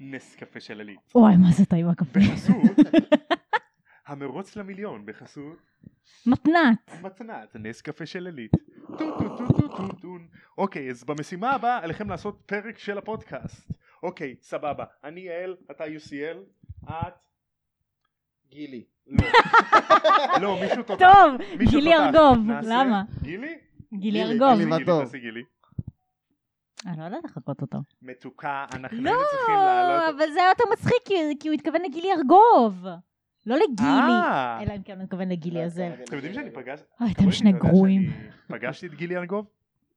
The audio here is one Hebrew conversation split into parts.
נס קפה של עלי. וואי, מה זה טעים הקפה. בחסות המרוץ למיליון בחסות מתנת. מתנת נס קפה של עלית. טו טו טו טו טו טון. אוקיי אז במשימה הבאה עליכם לעשות פרק של הפודקאסט. אוקיי סבבה אני יעל אתה יוסיאל את גילי. לא. לא מישהו תותח. טוב, מישהו גילי תותח. ארגוב, נעשה- למה? גילי? גילי גילי, ארגוב. גילי. תעשי ותור. תעשי גילי. אני לא יודעת לחכות אותו. מתוקה אנחנו לא, היינו צריכים לעלות. אבל זה היה יותר מצחיק, כי- כי הוא התכוון לגילי ארגוב. לא לגילי. אה, אלא אם כן הוא מתכוון לגילי הזה. אתם יודעים שאני פגש... אוי, אתם אתם שני יודעים, אתה יודע גרועים. שאני פגשתי את גילי ארגוב?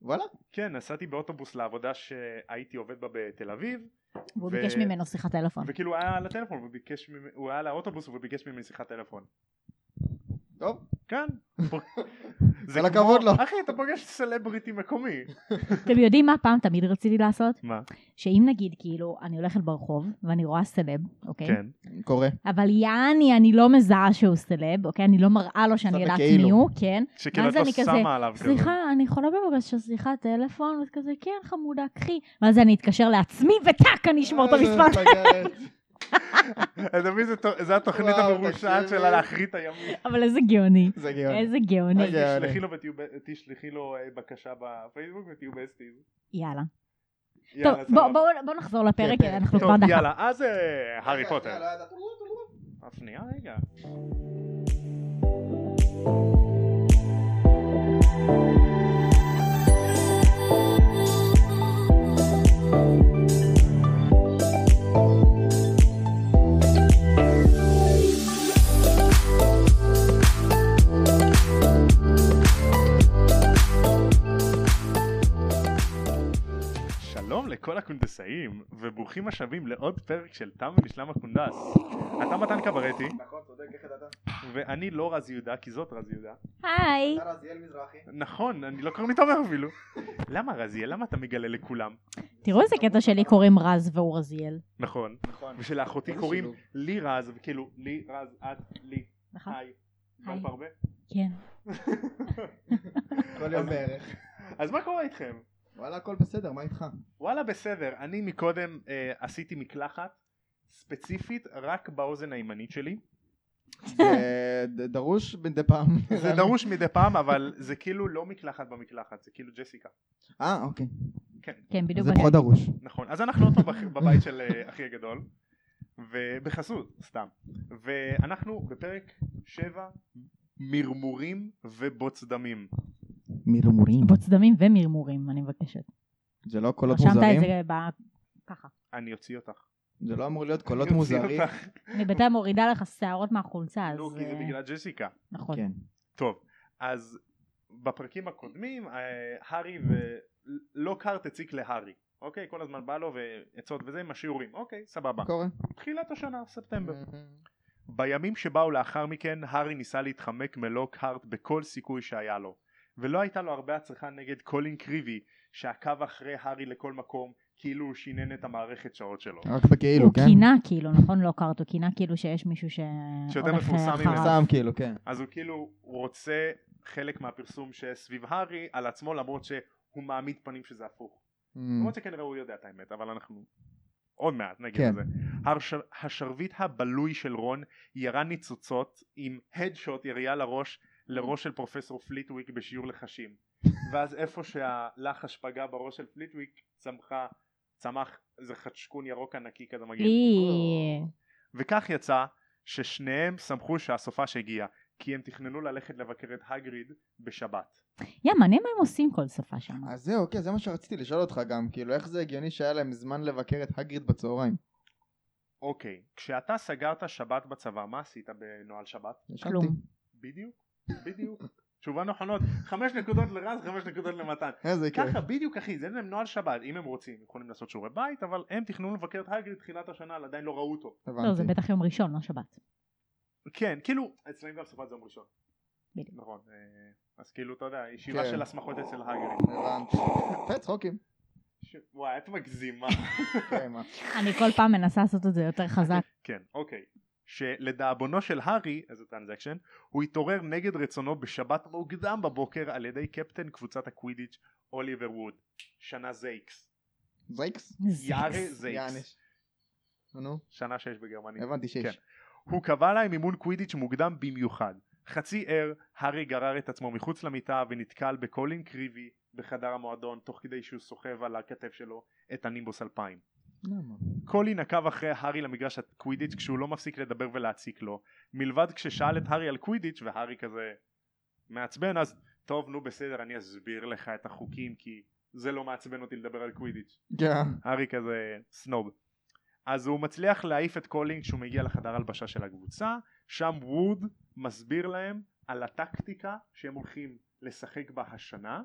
וואלה. כן נסעתי באוטובוס לעבודה שהייתי עובד בה בתל אביב והוא ו- ביקש ממנו שיחת טלפון. וכאילו הוא היה על הטלפון, הוא ביקש, ממ- הוא היה על האוטובוס והוא ביקש ממני שיחת טלפון. טוב. כן. כל הכבוד לו. אחי, אתה פוגש סלבריטי מקומי. אתם יודעים מה פעם תמיד רציתי לעשות? מה? שאם נגיד, כאילו, אני הולכת ברחוב ואני רואה סלב, אוקיי? כן. קורה. אבל יעני, אני לא מזהה שהוא סלב, אוקיי? אני לא מראה לו שאני שמה יודעת כאילו. מי הוא, כן? שכאילו ואז את לא אני כזה, שמה עליו כזה. סליחה, אני יכולה בבקשה, סליחה, טלפון? ואת כזה, כן, חמודה, קחי. ואז אני אתקשר לעצמי, וטאק, אני אשמור את המספר. אתה מבין, זה ת- זה התוכנית וואו, המרושעת תקשיבי. שלה להחריא את הימים. אבל איזה גאוני. זה גאון. איזה גאוני. רגע. יאללה. תשלחי לו ותהיו ב- תשלחי לו אה, בקשה בפייסבוק ותהיו בסטיז. יאללה. טוב, יאללה, בואו סבבה. בואו- בואו נחזור לפרק, כן, כי כן. אנחנו כבר טוב, דקה. יאללה, אז אה, הארי לא פוטר. אה, שנייה רגע. שלום לכל הקונדסאים, וברוכים השבים לעוד פרק של תם ונשלם הקונדס. אתה מתן קברטי, נכון, צודק, איך ידעת? ואני לא רז יהודה, כי זאת רז יהודה. היי. אתה רזיאל מזרחי. נכון, אני לא קוראים לי תומר אפילו. למה רזיאל? למה אתה מגלה לכולם? תראו איזה קטע שלי קוראים רז והוא רזיאל. נכון. נכון. ושלאחותי איזה קוראים שילוב. לי רז, וכאילו, לי רז, את, לי, נכון? היי. לא דיברת הרבה? כן. כל יום בערך. אז מה קורה איתכם? וואלה, הכל בסדר, מה איתך? אה. וואלה בסדר, אני מקודם אה, עשיתי מקלחת, ספציפית רק באוזן הימנית שלי. זה אה, ד- דרוש מדי פעם. זה דרוש מדי פעם, אבל זה כאילו לא מקלחת במקלחת, זה כאילו ג'סיקה. אה, אוקיי. כן, בדיוק. זה אני- פחות דרוש. נכון, אז אנחנו עוד פעם בח- בבית של אה, אחי הגדול, ובחסות, סתם. ואנחנו בפרק 7, מרמורים ובוץ דמים. מרמורים. בוץ דמים ומרמורים, אני מבקשת. זה לא קולות רשמת את מוזרים? זה ב... ככה. אני אוציא אותך. זה לא אמור להיות קולות אני אוציא מוזרים? אותך. אני בינתיים מורידה לך שערות מהחולצה, אז... נו, לא, כי זה אה, בגלל ג'סיקה. נכון. כן. טוב, אז בפרקים הקודמים, אה, הארי ו... לא קארט הציק להארי. אוקיי, כל הזמן בא לו ועצות וזה עם השיעורים. אוקיי, סבבה. קורה. תחילת השנה, אה, ספטמבר. בימים שבאו לאחר מכן, הארי ניסה להתחמק מלוקהרט בכל סיכוי שהיה לו, ולא הייתה לו הרבה הצלחה נגד קולין קריבי, שעקב אחרי הארי לכל מקום, כאילו הוא שינן את המערכת שעות שלו. רק בכאילו, הוא כן? קינה כאילו, נכון? לא קארט, הוא קינה כאילו שיש מישהו ש... שיותר הולך, אה, מפורסם אחריו. ממנו. סתם כאילו, כן. אז הוא כאילו רוצה חלק מהפרסום שסביב הארי על עצמו, למרות שהוא מעמיד פנים שזה הפוך. למרות שכנראה הוא יודע את האמת, אבל אנחנו עוד מעט נגיד כן. את זה. הרש- השרביט הבלוי של רון ירה ניצוצות עם הדשוט ירייה לראש לראש של פרופסור פליטוויק בשיעור לחשים. ואז איפה שהלחש פגע בראש של פליטוויק צמחה, צמח איזה חדשקון ירוק ענקי כזה מגעיל. אי, וכך יצא ששניהם שמחו שהסופש הגיע, כי הם תכננו ללכת לבקר את הגריד בשבת. יא, מעניין מה הם עושים כל שפה שם. אז זהו, כן, זה מה שרציתי לשאול אותך גם, כאילו, איך זה הגיוני שהיה להם זמן לבקר את הגריד בצהריים? אוקיי, כשאתה סגרת שבת בצבא, מה עשית בנוהל שבת? ישנתי. כלום. בדיוק, בדיוק. תשובה נכונות, חמש נקודות לרז, חמש נקודות למתן. איזה כיף. ככה בדיוק אחי, זה אין להם נוהל שבת, אם הם רוצים, יכולים לעשות שיעורי בית, אבל הם תכננו לבקר את הגריד תחילת השנה, אבל עדיין לא ראו אותו. לא, זה הבנתי. בטח יום ראשון, לא שבת. כן, כאילו, אצלם גם סופת זום ראשון. בדיוק. נכון, אה, אז כאילו, אתה יודע, ישיבה כן. של הסמכות אצל הגריד. הבנתי. יפה, צחוקים. ש- וואי, את מגזימה. כן, מה? אני כל פעם מנסה לעשות את זה יותר חזק. כן, אוקיי. שלדאבונו של הארי, איזה טרנזקשן, הוא התעורר נגד רצונו בשבת מוקדם בבוקר על ידי קפטן קבוצת הקווידיץ' אוליבר ווד. שנה זייקס. זייקס? זיקס. יארי זייקס. יעני. נו, שנה שיש בגרמניה. הבנתי כן. שיש. הוא קבע להם אימון קווידיץ' מוקדם במיוחד. חצי ער, הארי גרר את עצמו מחוץ למיטה ונתקל בקולין קריבי בחדר המועדון תוך כדי שהוא סוחב על הכתף שלו את הנימבוס 2000. למה? קולין עקב אחרי הארי למגרש הקווידיץ' כשהוא לא מפסיק לדבר ולהציק לו מלבד כששאל את הארי על קווידיץ' והארי כזה מעצבן אז טוב נו בסדר אני אסביר לך את החוקים כי זה לא מעצבן אותי לדבר על קווידיץ' כן. הארי כזה סנוב. אז הוא מצליח להעיף את קולינג כשהוא מגיע לחדר הלבשה של הקבוצה, שם ווד מסביר להם על הטקטיקה שהם הולכים לשחק בה השנה,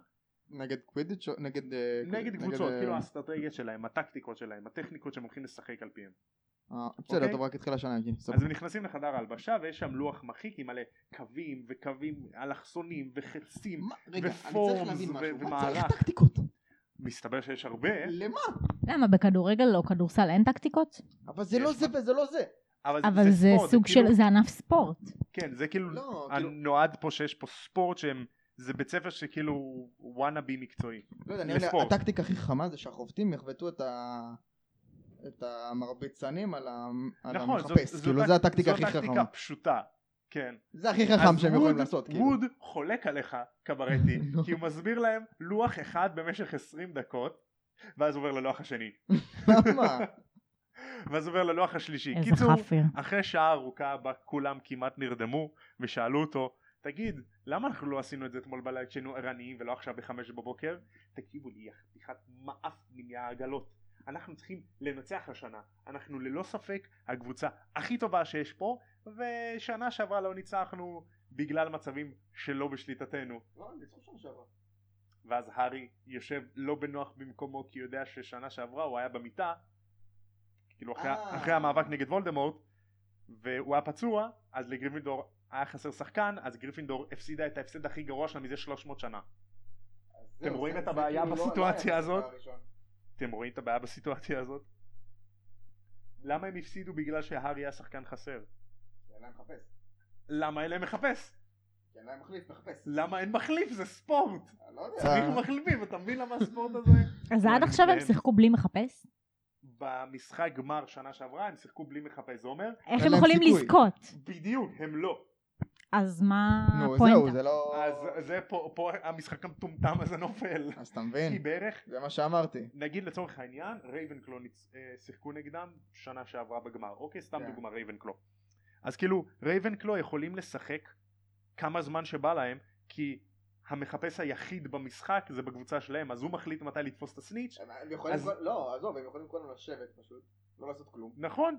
נגד קווידיץ' או נגד... אה, נגד קבוצות, אה, כאילו האסטרטגיה שלהם, הטקטיקות שלהם, הטכניקות שהם הולכים לשחק על פיהם. אה, אוקיי? בסדר, טוב, רק התחילה השנה, כן, אז סבבה. הם נכנסים לחדר ההלבשה ויש שם לוח מחיק עם מלא קווים וקווים אלכסונים וחצים. מה- רגע, אני ופורמס צריך להבין משהו. ו- מה צריך ומערך. כן? טקטיקות? מסתבר שיש הרבה, למה? למה, בכדורגל או כדורסל אין טקטיקות? אבל זה לא יש זה וזה לא זה. אבל, אבל זה ספורט, סוג של, כאילו- זה ענף ספורט. כן, זה כאילו לא, כאילו... נועד פה שיש פה ספורט שהם זה בית ספר שכאילו וואנאבי מקצועי לא יודע, נראה לי לספורט. הטקטיקה הכי חכמה זה שהחובטים יחבטו את ה... את המרביצנים על ה- על נכון זאת- המחפש, זאת כאילו טק- זה הטקטיקה זאת הכי חכמה, טקטיקה פשוטה כן זה הכי חכם אז שהם יכולים ווד- לעשות, כאילו, ווד חולק עליך קברטי לא. כי הוא מסביר להם לוח אחד במשך 20 דקות ואז עובר ללוח השני למה? ואז עובר ללוח השלישי איזה קיצור חאפר. אחרי שעה ארוכה בה כולם כמעט נרדמו ושאלו אותו תגיד למה אנחנו לא עשינו את זה אתמול בלילה כשהיינו ערניים ולא עכשיו בחמש בבוקר תקשיבו לי יא חתיכת מאפנים יא עגלות אנחנו צריכים לנצח השנה אנחנו ללא ספק הקבוצה הכי טובה שיש פה ושנה שעברה לא ניצחנו בגלל מצבים שלא בשליטתנו ואז הארי יושב לא בנוח במקומו כי יודע ששנה שעברה הוא היה במיטה כאילו אחרי, אה. אחרי המאבק נגד וולדמורט והוא היה פצוע אז לגריפינדור היה חסר שחקן אז גריפינדור הפסידה את ההפסד הכי גרוע שלה מזה 300 שנה אתם זהו, רואים זה- את זה הבעיה כאילו לא- לא בסיטואציה היה הזאת? הדבר הראשון. אתם רואים את הבעיה בסיטואציה הזאת? למה הם הפסידו בגלל שהארי היה שחקן חסר? כי אין להם מחפש, למה אין להם מחפש? כי אין להם מחליף, מחפש. למה אין מחליף? זה ספורט! לא יודע. צריך מחליפים, אתה מבין למה הספורט הזה? אז אני עד עכשיו הם מתלהב. שיחקו בלי מחפש? במשחק גמר שנה שעברה הם שיחקו בלי מחפש, זה אומר איך אין הם להם יכולים סיכוי. לזכות? בדיוק, הם לא. אז מה נו, זהו, הפואנטה? זה לא... אז זה פה, פה המשחק המטומטם הזה נופל. אז אתה כי מבין? בערך, זה מה שאמרתי. נגיד לצורך העניין, רייבנקלו ניצ- אה, שיחקו נגדם שנה שעברה בגמר. אוקיי, סתם כן. דוגמה רייבנקלו. אז כאילו, רייבנקלו יכולים לשחק כמה זמן שבא להם, כי המחפש היחיד במשחק זה בקבוצה שלהם, אז הוא מחליט מתי לתפוס את הסניץ'. הם יכולים... אז- כל- לא, עזוב, הם יכולים כולנו לשבת פשוט, לא לעשות כלום, נכון.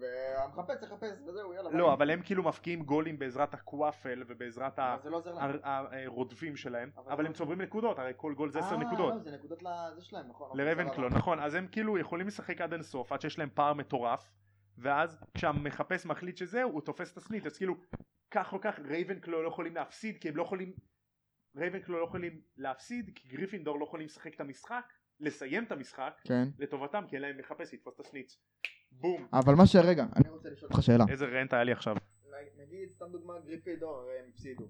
והמחפש יחפש, וזהו, יאללה. לא, ביי. אבל הם כאילו מפקיעים גולים בעזרת הקוואפל ובעזרת ה... אבל זה לא עוזר להם. הר- ה- הרודפים שלהם, אבל אבל לא- הם צוברים נקודות, הרי כל גול זה 10 אה, נקודות. לא, זה נקודות לזה שלהם, נכון. אוקיי, לרבנקלו, סבבה. נכון, אז הם כאילו יכולים לשחק עד אינסוף, עד שיש להם פער מטורף, ואז כשהמחפש מחליט שזהו, הוא תופס את הסנית, אז כאילו, כך או כך רייבנקלו לא יכולים להפסיד, כי הם לא יכולים, רייבנקלו לא יכולים להפסיד, כי גריפינדור לא יכולים לשחק את המשחק, לסיים את המשחק, כן. לטובתם, כי אין להם מחפש לתפוס את הסנית. בום. אבל מה שרגע, אני רוצה לשאול אותך שאלה. איזה רנט היה לי עכשיו. נגיד, סתם דוגמה, גריפידור, הרי הם הפסידו.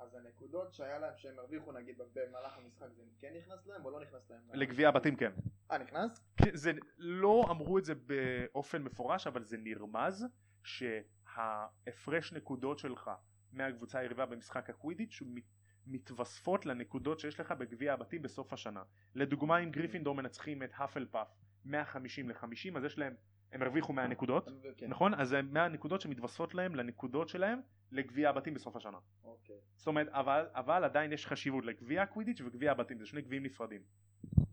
אז הנקודות שהיה להם, שהם הרוויחו נגיד במהלך המשחק, זה כן נכנס להם או לא נכנס להם? לגביע הבתים כן. אה, נכנס? כן, זה לא אמרו את זה באופן מפורש אבל זה נרמז שההפרש נקודות שלך מהקבוצה היריבה במשחק הקווידיץ' הוא מת- מתווספות לנקודות שיש לך בגביע הבתים בסוף השנה לדוגמה אם גריפינדור מנצחים את האפל פאף 150 ל-50 אז יש להם הם הרוויחו 100 נקודות כן. נכון אז זה 100 נקודות שמתווספות להם לנקודות שלהם לגביע הבתים בסוף השנה אוקיי. זאת אומרת אבל, אבל עדיין יש חשיבות לגביע הקווידיץ' וגביע הבתים זה שני גביעים נפרדים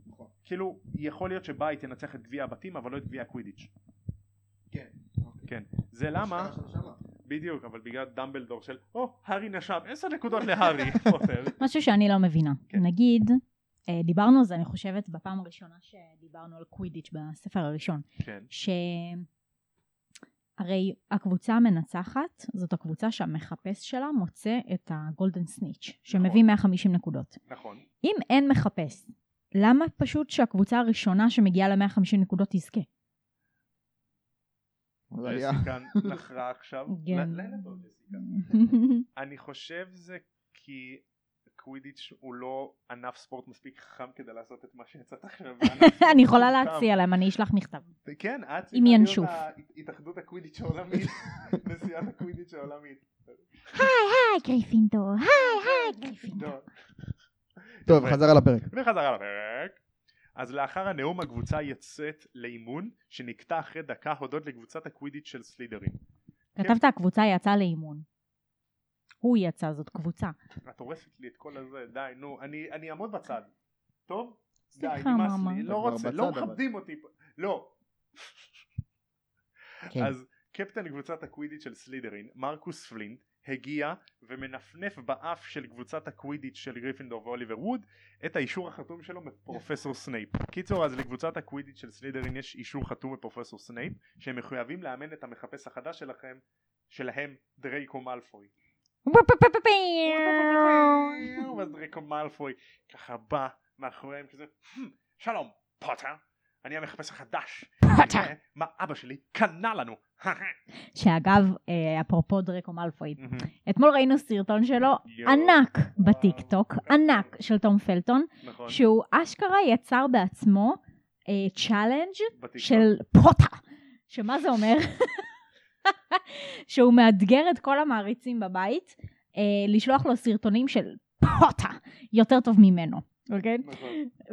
נכון. כאילו יכול להיות שבית ינצח את גביע הבתים אבל לא את גביע הקווידיץ' כן. כן זה למה שקרה שנה שעברה. בדיוק אבל בגלל דמבלדור של או הארי נשם עשר נקודות להארי פוטר משהו שאני לא מבינה. כן. נגיד, אה, דיברנו על זה, אני חושבת, בפעם הראשונה שדיברנו על קווידיץ' בספר הראשון, כן שהרי הקבוצה המנצחת, זאת הקבוצה שהמחפש שלה מוצא את הגולדן סניץ', שמביא נכון. 150 נקודות. נכון אם אין מחפש, למה פשוט שהקבוצה הראשונה שמגיעה ל-150 נקודות תזכה? אז היה- ג'סיקה נכרה עכשיו כן. לילה טוב, ג'סיקה. אני חושב זה כי הקווידיץ' הוא לא ענף ספורט מספיק חכם כדי לעשות את מה שיצאת עכשיו. בענף ספורט אני יכולה מוקדם. להציע להם, אני אשלח מכתב. כן, את צריכה עם ינשוף. להיות התאחדות הקווידיץ' העולמית, נשיאת הקווידיץ' העולמית. היי גריפינדור, היי היי גריפינדור. טוב. אה, טוב, חזרה לפרק. וחזרה לפרק. אז לאחר הנאום הקבוצה יוצאת לאימון שנקטע אחרי דקה הודות לקבוצת הקווידיץ' של סלידרים. כן. כתבת הקבוצה יצאה לאימון. הוא יצא, זאת קבוצה. את הורסת לי את כל הזה, די, נו, אני, אני אעמוד בצד. טוב? די, סליחה, נמאס מאמה. לי, אתה לא כבר רוצה, בצד, לא אבל. מכבדים אותי פה. לא. כן. אז קפטן קבוצת הקווידיץ' של סלידרין, מרקוס פלינט, הגיע ומנפנף באף של קבוצת הקווידיץ' של גריפינדור ואוליבר ווד את האישור החתום שלו מפרופסור סנייפ. קיצור אז לקבוצת הקווידיץ' של סלידרין יש אישור חתום מפרופסור סנייפ שהם מחויבים לאמן את המחפש החדש שלכם שלהם דרייקו מאלפוי. ואז דריקו מאלפוי ככה בא מאחוריהם כזה "הם, שלום פוטר אני המחפש החדש פוטר. זה מה אבא שלי קנה לנו שאגב, אה, אפרופו דרקו מאלפוי, אתמול ראינו סרטון שלו יואו. ענק בטיק טוק, ענק של תום פלטון, נכון שהוא אשכרה יצר בעצמו אה, צ'אלנג' בטיקטוק. של פוטה, שמה זה אומר? שהוא מאתגר את כל המעריצים בבית אה, לשלוח לו סרטונים של פוטה יותר טוב ממנו, אוקיי? נכון.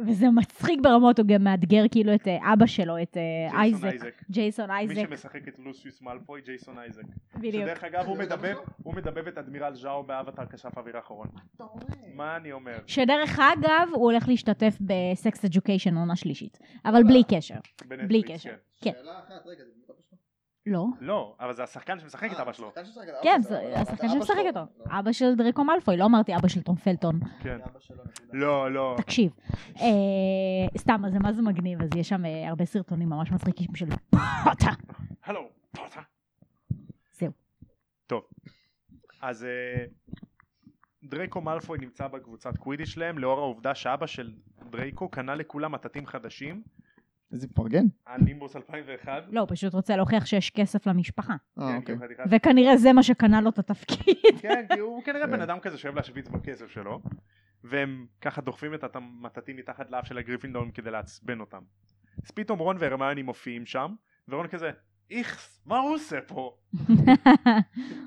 וזה מצחיק ברמות, הוא גם מאתגר כאילו את אה, אבא שלו, את אה, ג'ייסון אייזק, ג'ייסון מי אייזק, שמשחק את לוסיוס מאלפוי ג'ייסון אייזק בדיוק. שדרך אגב הוא מדבב הוא מדבב את אדמירל ז'או באבטר כשף אוויר האחרון אוקיי. אתה אומר? מה אני אומר שדרך אגב, הוא הולך להשתתף בסקס אדיוקיישן עונה שלישית, אבל בלי קשר. בנטפליקס, בלי קשר. כן. כן. שאלה אחת, רגע, זה באמת אבא שלו? אה, לא. לא אבל זה השחקן שמשחק את אבא שלו אה, השחקן שמשחק את אבא כן, שלו, זה אבל השחקן אבא שמשחק שלו. אותו. לא, אבא של דריקו מאלפוי, לא אמרתי אבא של טום פלטון. כן אבא שלו, נקודה. לא לא תקשיב. אה, סתם, אז זה מה זה מגניב, אז יש שם אה, הרבה סרטונים ממש מצחיקים של פוטה. הלו פוטר זהו. אז אה, דרייקו מאלפוי נמצא בקבוצת קווידיץ' שלהם לאור העובדה שאבא של דרייקו קנה לכולם מטאטים חדשים איזה מפרגן. הנימבוס 2001 לא, הוא פשוט רוצה להוכיח שיש כסף למשפחה. אה, כן, אוקיי. כאילו חתיכת וכנראה זה מה שקנה לו את התפקיד. כן, כי הוא כנראה בן כן. אדם כזה שאוהב להשוויץ בכסף שלו, והם ככה דוחפים את המטטים מתחת לאף של הגריפינדורים כדי לעצבן אותם. אז פתאום רון והרמיוני מופיעים שם, ורון כזה, איכס, מה הוא עושה פה? הוא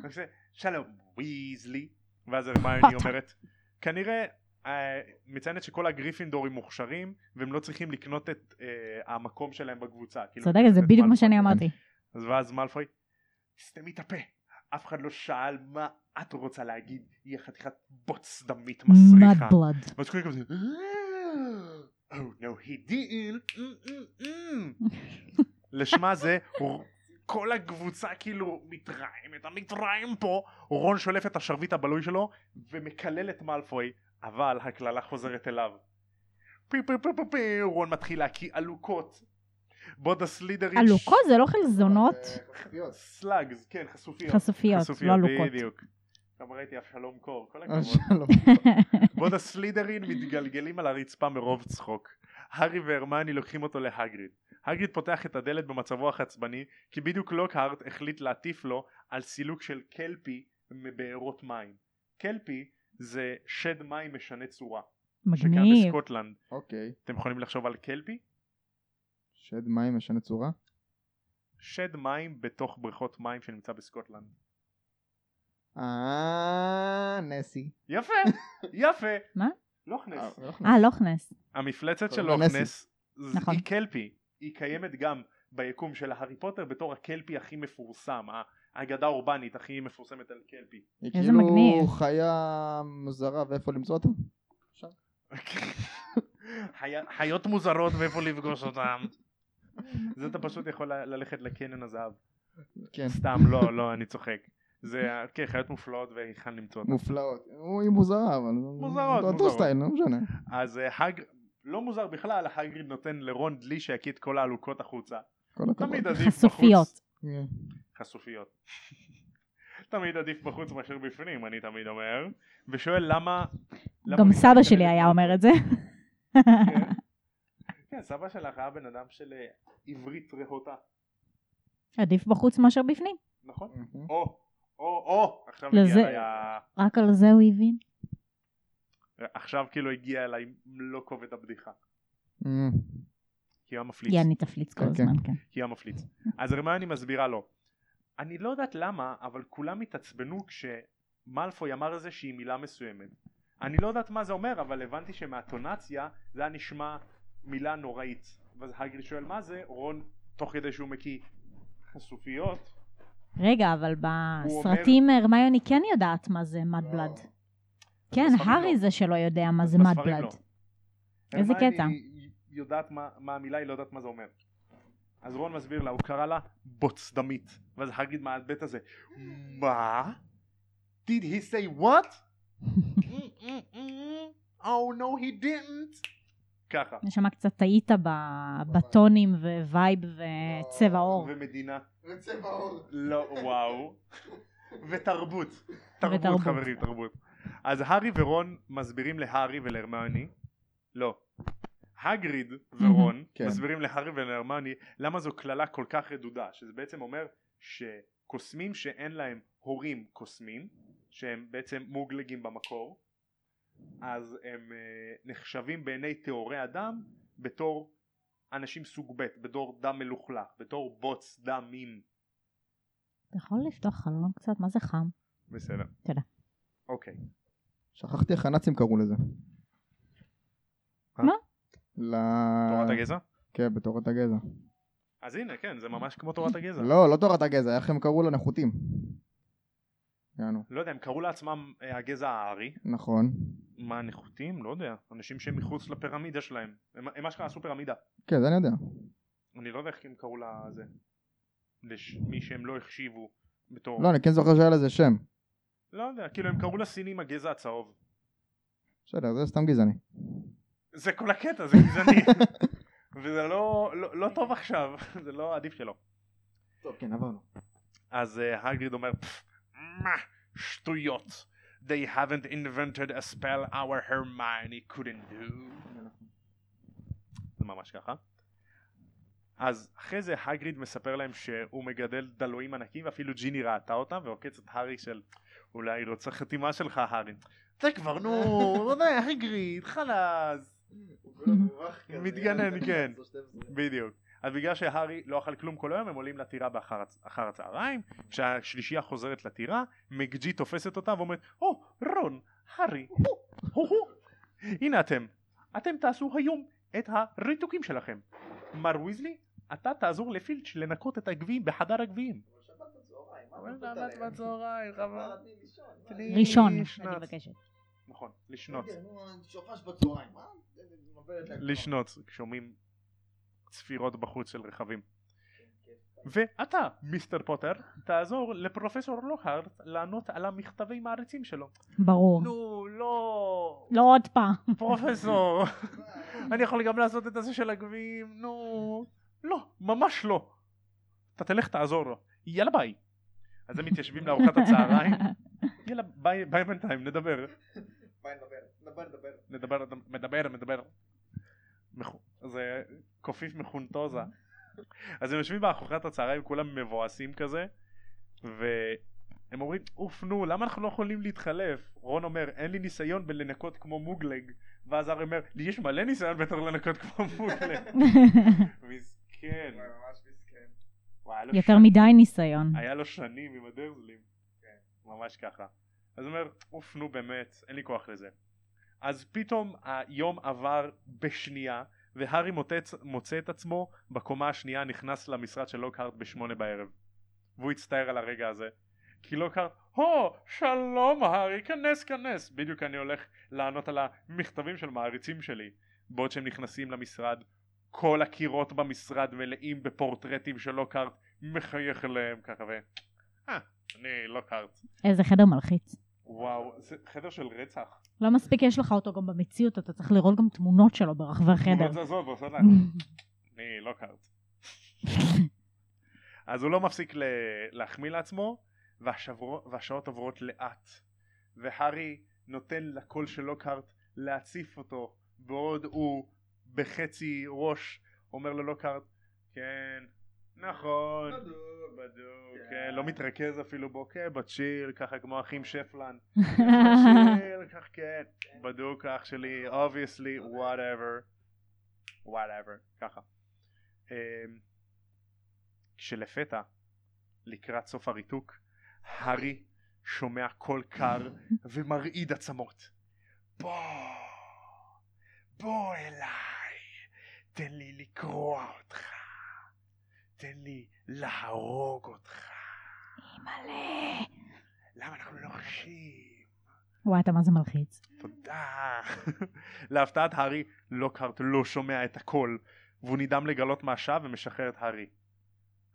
כזה, שלום, ויזלי. ואז הרמיוני אומרת, כנראה, אה, מציינת שכל הגריפינדורים מוכשרים, והם לא צריכים לקנות את אה, המקום שלהם בקבוצה. כאילו, צודקת, זה את בדיוק מה מאלפוי. שאני אמרתי. אז ואז מאלפוי, סתמי את הפה, אף אחד לא שאל מה את רוצה להגיד, היא חתיכת בוץ דמית מסריחה. mud blood. ואז כולם כזה, Oh no he didn't, Mm, mm, mm." לשמה זה, ר- כל הקבוצה כאילו מתרעמת, המתרעם פה, רון שולף את השרביט הבלוי שלו ומקלל את מאלפוי, אבל הקללה חוזרת אליו. פי פי פי פי פי, רון מתחיל להקיא עלוקות. בודה סלידריץ' עלוקות זה לא חלזונות אה, חשופיות. סלאגס, כן, חשופיות. חשופיות, לא עלוקות. בדיוק. גם ראיתי אבשלום קור, כל אה, הכבוד. שלום. בוד הסלידרין מתגלגלים על הרצפה מרוב צחוק. הארי והרמני לוקחים אותו להגריד. הגריד פותח את הדלת במצבו החצבני, כי בדיוק לוקהארט החליט להטיף לו על סילוק של קלפי מבארות מים. קלפי זה שד מים משנה צורה, שקיים מגניב. בסקוטלנד. אוקיי. אתם יכולים לחשוב על קלפי? שד מים משנה צורה? שד מים בתוך בריכות מים שנמצא בסקוטלנד. אה, נסי. יפה, יפה. מה? לוך נס. אה, לוכנס. המפלצת של קוראים לה לוכנס ז- נכון. היא קלפי, היא קיימת גם ביקום של הארי פוטר בתור הקלפי הכי מפורסם, האגדה האורבנית הכי מפורסמת על קלפי. היא איזה כאילו מגניב. חיה מוזרה ואיפה למצוא אותה? חי- חיות מוזרות ואיפה לפגוש אותן. זה אתה פשוט יכול ל- ללכת לקניון הזהב. כן. סתם, לא, לא, אני צוחק. זה, כן, חיות מופלאות והיכן למצוא אותן. מופלאות. הוא- היא מוזרה אבל. מוזרות, אותו- מוזרות. אותו סטייל, לא משנה. אז אה, האג... לא מוזר בכלל, הגריד נותן לרון דלי שיקיא את כל העלוקות החוצה. כל הכבוד. תמיד עדיף בחוץ. חשופיות. כן. חשופיות. תמיד עדיף בחוץ מאשר בפנים, אני תמיד אומר, ושואל למה... למה גם אני סבא מתנגד שלי לזה? היה אומר את זה. כן. כן, סבא שלך היה בן אדם של אה, עברית רהוטה, עדיף בחוץ מאשר בפנים. נכון? מהמם. או, או, או, עכשיו לזה- הגיע אליי ה- רק על זה הוא הבין. עכשיו כאילו הגיע אליי מלוא כובד הבדיחה. אמ, כי הוא היה מפליץ. יעני תפליץ כל כן, כן. הזמן, כן. כי היה מפליץ. אז הרמיוני מסבירה לו. אני לא יודעת למה, אבל כולם התעצבנו כשמלפוי אמר איזושהי מילה מסוימת. אני לא יודעת מה זה אומר, אבל הבנתי שמהטונציה זה היה נשמע מילה נוראית. ואז הגרי שואל מה זה, רון, תוך כדי שהוא מקיא חשופיות, רגע, אבל הוא לא. בסרטים הרמיוני כן יודעת מה זה מד בלאד. כן, בספרים הארי לא. זה שלא יודע מה זה בספרים מד בלאד. לא. איזה הרמיוני קטע? היא יודעת מה, מה המילה, היא לא יודעת מה זה אומר. אז רון מסביר לה, הוא קרא לה בוצדמית. ואז הגריד מהבית הזה, מה? did he say what? "Mm, Oh no he didn't. ככה. נשמע קצת טעית ב- בטונים ווייב וצבע לא. עור. ומדינה. רצה באור. לא וואו. ותרבות. תרבות ותרבות. חברים תרבות. אז הארי ורון מסבירים להארי ולהרמיוני. לא. הגריד ורון כן. מסבירים להארי ולהרמיוני למה זו קללה כל כך רדודה. שזה בעצם אומר שקוסמים שאין להם הורים קוסמים. שהם בעצם מוגלגים במקור. אז הם אה, נחשבים בעיני טהורי הדם בתור אנשים סוג ב', בתור דם מלוכלך, בתור בוץ דמים. אתה יכול לפתוח חלון קצת? מה זה חם? בסדר. תודה. אוקיי. שכחתי איך הנאצים קראו לזה. מה? ל... תורת הגזע? כן, בתורת הגזע. אז הנה, כן, זה ממש כמו תורת הגזע. לא, לא תורת הגזע, איך הם קראו לנחותים? יענו. לא יודע, הם קראו לעצמם אה, הגזע הארי. נכון. מה, נחותים? לא יודע. אנשים שהם מחוץ לפירמידה שלהם. הם הם אשכרה עשו פירמידה. כן, זה אני יודע. אני לא יודע איך הם קראו לזה. למי שהם לא החשיבו בתור... לא, אני כן זוכר שהיה לזה שם. לא יודע, כאילו הם קראו לסינים הגזע הצהוב. בסדר, זה סתם גזעני. זה כל הקטע זה גזעני וזה לא, לא, לא טוב עכשיו זה לא עדיף שלא טוב, כן, עברנו. אז uh, הגריד אומר "פפ, מה שטויות they haven't invented a spell our Hermione couldn't do זה ממש ככה אז אחרי זה הגריד מספר להם שהוא מגדל דלויים ענקים ואפילו ג'יני ראתה אותם ועוקץ את הארי של אולי היא רוצה חתימה שלך הארי זה כבר נו די הגריד חלאס הוא כולו מרוח כזה, מתגנן, יאללה, כן. 11-12. בדיוק. אז בגלל שהארי לא אכל כלום כל היום הם עולים לטירה באחר הצ- אחר הצהריים כשהשלישייה חוזרת לטירה מקג'י תופסת אותה ואומרת או רון הארי הו, הו, הו. הנה אתם אתם תעשו היום את הריתוקים שלכם מר ויזלי אתה תעזור לפילץ' לנקות את הגביעים בחדר הגביעים אבל שבת בצהריים, מה אתה מבטל עליהם? מה, תני לישון, מה? תני- אה? ראשון, שנת. אני מבקשת. נכון לשנות בסדר, כן, נו, שופש בצהריים, אה? מה? מבלת להם. לשנות שומעים צפירות בחוץ של רכבים ואתה, מיסטר פוטר, תעזור לפרופסור לוהארט לענות על המכתבי מעריצים שלו. ברור. נו, לא, לא עוד פעם. פרופסור, מה? אני יכול גם לעשות את הזה של הגביעים, נו. לא, ממש לא. אתה תלך תעזור לו. יאללה ביי. אז הם מתיישבים לארוחת הצהריים. יאללה ביי, ביי בינתיים, נדבר. ביי, נדבר, נדבר, נדבר. נדבר, מדבר, מדבר. מכו- זה קופיף מחונטוזה. אז הם יושבים בארוחת הצהריים, כולם מבואסים כזה, והם אומרים, אוף נו, למה אנחנו לא יכולים להתחלף? רון אומר, אין לי ניסיון בלנקות כמו מוגלג, ואז הרי אומר, לי יש מלא ניסיון בתור לנקות כמו מוגלג. מסכן. וואי, ממש מסכן. וואי, לא היה לו יותר שנים- מדי ניסיון. היה לו שנים עם הדרזלים. כן, ממש ככה. אז הוא אומר, אוף נו באמת, אין לי כוח לזה. אז פתאום היום עבר בשנייה, והארי מוצא, מוצא את עצמו בקומה השנייה נכנס למשרד של לוקהרט בשמונה בערב. והוא הצטער על הרגע הזה. כי לוקהרט, הו, שלום הארי, כנס כנס. בדיוק אני הולך לענות על המכתבים של מעריצים שלי. בעוד שהם נכנסים למשרד, כל הקירות במשרד מלאים בפורטרטים של לוקהרט, מחייך אליהם ככה ו... אה, אני לוקהרט. איזה חדר מלחיץ. וואו, זה חדר של רצח. לא מספיק יש לך אותו גם במציאות, אתה צריך לראות גם תמונות שלו ברחבי תמונות החדר. זזות ועושה לה, אני לא קארט. אז הוא לא מפסיק ל- להחמיא לעצמו, והשבוע- והשעות עוברות לאט. והארי נותן לקול של לוקהרט להציף אותו, בעוד הוא בחצי ראש אומר לו לוקהרט, לא כן, לא, נכון. בדוק. בדוק, כן. כן, לא מתרכז אפילו בו, כן, בצ'יל, ככה כמו האחים שפלן. בצ'יל, כך כן. בדוק, אח שלי, obviously, whatever. whatever, ככה. אמ, כשלפתע, לקראת סוף הריתוק, הארי שומע קול קר ומרעיד עצמות. בוא, בוא אליי, תן לי לקרוע אותך, תן לי להרוג אותך. מלא. למה אנחנו לא חשים? וואי, אתה מה זה מלחיץ. תודה. להפתעת הארי, לוקהרט לא שומע את הקול, והוא נדהם לגלות מה השעה ומשחרר את הארי.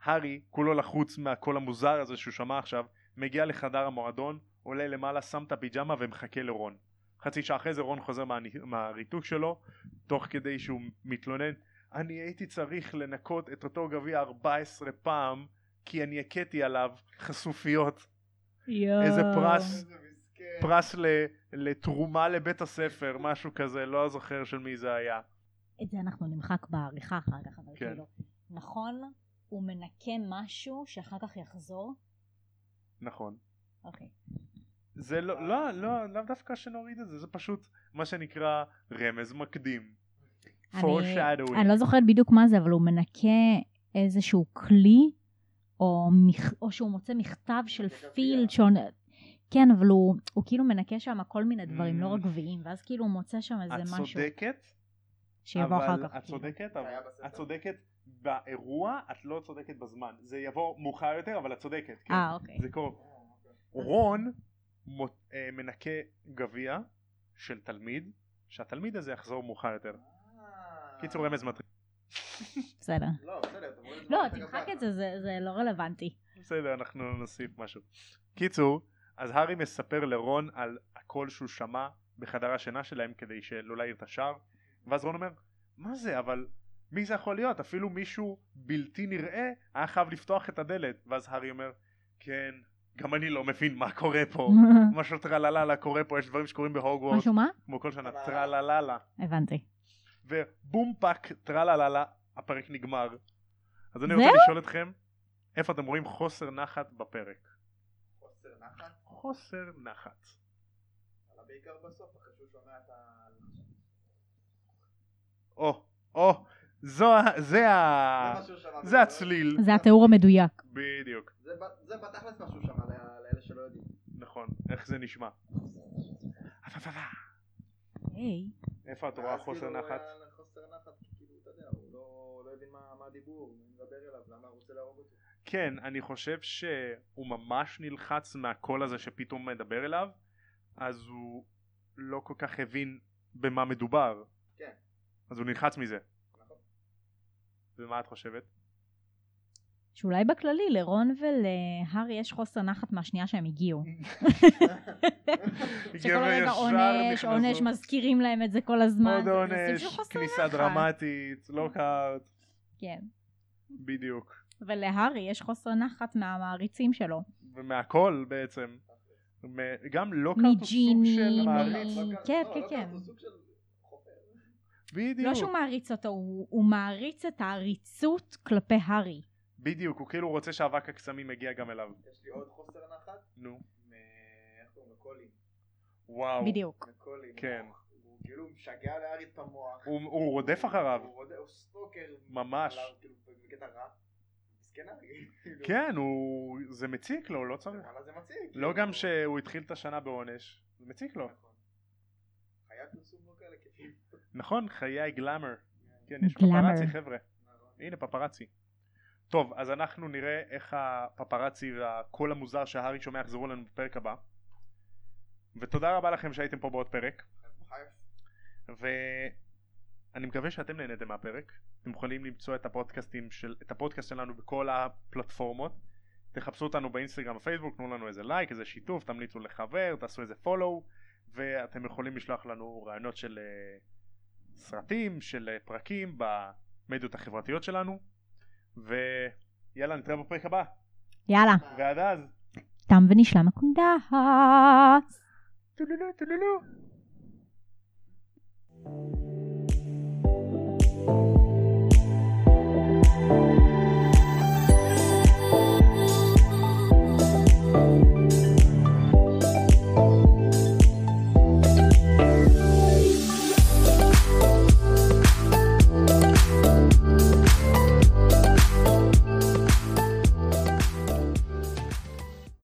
הארי, כולו לחוץ מהקול המוזר הזה שהוא שמע עכשיו, מגיע לחדר המועדון, עולה למעלה, שם את הפיג'מה ומחכה לרון. חצי שעה אחרי זה רון חוזר מה... מהריתוק שלו, תוך כדי שהוא מתלונן, אני הייתי צריך לנקות את אותו גביע 14 פעם, כי אני הכיתי עליו חשופיות. יואו. איזה פרס. איזה מסכן. פרס ל- לתרומה לבית הספר, משהו כזה, לא זוכר של מי זה היה. את זה אנחנו נמחק בעריכה אחר כך, אבל כן. כאילו, נכון, הוא מנקה משהו שאחר כך יחזור? נכון. אוקיי. זה לא, לא, לא, לאו דווקא שנוריד את זה, זה פשוט מה שנקרא רמז מקדים. אני, foreshadowing. אני לא זוכרת בדיוק מה זה, אבל הוא מנקה איזשהו כלי, או, מכ, או שהוא מוצא מכתב של מנקה גביע. פילד, שעונ... כן, אבל הוא, הוא כאילו מנקה שם כל מיני דברים, Mm. לא רק גביעים, ואז כאילו הוא מוצא שם איזה את משהו צודקת, שיבוא אחר אבל כך. את כאילו. צודקת, זה אה, היה אבל בספר. את צודקת באירוע, את לא צודקת בזמן. זה יבוא מאוחר יותר, אבל את צודקת. כן. אה, אוקיי. זה קורה. רון מו- אה, מנקה גביע של תלמיד, שהתלמיד הזה יחזור מאוחר יותר. אה. קיצור רמז מטריד. בסדר. לא, בסדר, אתה מוריד את לא, זה. תמחק את זה, זה, זה לא רלוונטי. בסדר, אנחנו נוסיף משהו. קיצור, אז הארי מספר לרון על הקול שהוא שמע בחדר השינה שלהם כדי שלא להעיר את השער, ואז רון אומר, מה זה, אבל מי זה יכול להיות? אפילו מישהו בלתי נראה היה חייב לפתוח את הדלת. ואז הארי אומר, כן, גם אני לא מבין מה קורה פה. משהו טרללה קורה פה, יש דברים שקורים בהוגוורט, משהו מה? כמו כל שנה, טרללה. טרללה. הבנתי. ובום פאק טרללה הפרק נגמר אז אני זהו? רוצה לשאול אתכם איפה אתם רואים חוסר נחת בפרק חוסר נחת, חוסר נחת אבל בעיקר בסוף, אחרי שהוא שומע את ה... או או זו ה- זה זה ה... מה שהוא שמע. אה, זה הצליל זה התיאור המדויק. בדיוק זה ב- זה בתכלס מה שהוא שמע ל- לאלה שלא יודעים. נכון איך זה נשמע היי. איפה את רואה ואז חוסר כאילו, נחת היה חוסר נחת, כאילו, אתה יודע, הוא לא- לא הבין מה מה הדיבור, מי מדבר אליו, למה הוא רוצה להרוג אותו. כן, אני חושב שהוא ממש נלחץ מהקול הזה שפתאום מדבר אליו, אז הוא לא כל כך הבין במה מדובר. כן. אז הוא נלחץ מזה. נכון. ומה את חושבת? שאולי בכללי לרון ולהארי יש חוסר נחת מהשנייה שהם הגיעו. שכל גבר רגע ישר עונש, נכנסו. עונש מזכירים להם את זה כל הזמן. עוד זה סוג עונש, של חוסר כניסה נחת. דרמטית, לא קארט, כן. בדיוק. ולהארי יש חוסר נחת מהמעריצים שלו. ומהכל בעצם. מ- גם לא קארט הוא סוג מג'יני, של מ- מעריץ. כן, לא, כן, לא, כן. הוא סוג של חופר. בדיוק. לא שהוא מעריץ אותו, הוא הוא מעריץ את העריצות כלפי הארי. בדיוק, הוא כאילו רוצה שאבק הקסמים יגיע גם אליו. יש לי עוד חוסר נחת, נו. מ- איך קוראים לו? קולין. וואו. בדיוק. מקולין. כן. הוא כאילו משגע לארי את המוח. הוא, הוא רודף אחריו. הוא רודף- הוא סטוקר. ממש. עליו, כאילו, בקטע רע. מסכן הארי. כאילו, כן, הוא... זה מציק לו, לא צריך. וואלה, זה מציק. לא כאילו. גם לא. שהוא התחיל את השנה בעונש, זה מציק לו. נכון. חיית פרסום לא כאלה כיפים. נכון, חיי גלאמר. כן, יש גלאמר. פפרצי, חבר'ה. נכון. הנה פפרצי. טוב, אז אנחנו נראה איך הפפרצי והקול המוזר שהארי שומע יחזרו לנו בפרק הבא. ותודה רבה לכם שהייתם פה בעוד פרק. חייב. ואני מקווה שאתם נהנתם מהפרק אתם יכולים למצוא את הפודקאסטים של את הפודקאסט שלנו בכל הפלטפורמות תחפשו אותנו באינסטגרם בפייסבוק תנו לנו איזה לייק איזה שיתוף תמליצו לחבר תעשו איזה follow ואתם יכולים לשלוח לנו רעיונות של אה, סרטים של אה, פרקים במדיות החברתיות שלנו ויאללה נתראה בפרק הבא יאללה, ועד אז תם ונשלם הקונדס. טולולו טולולו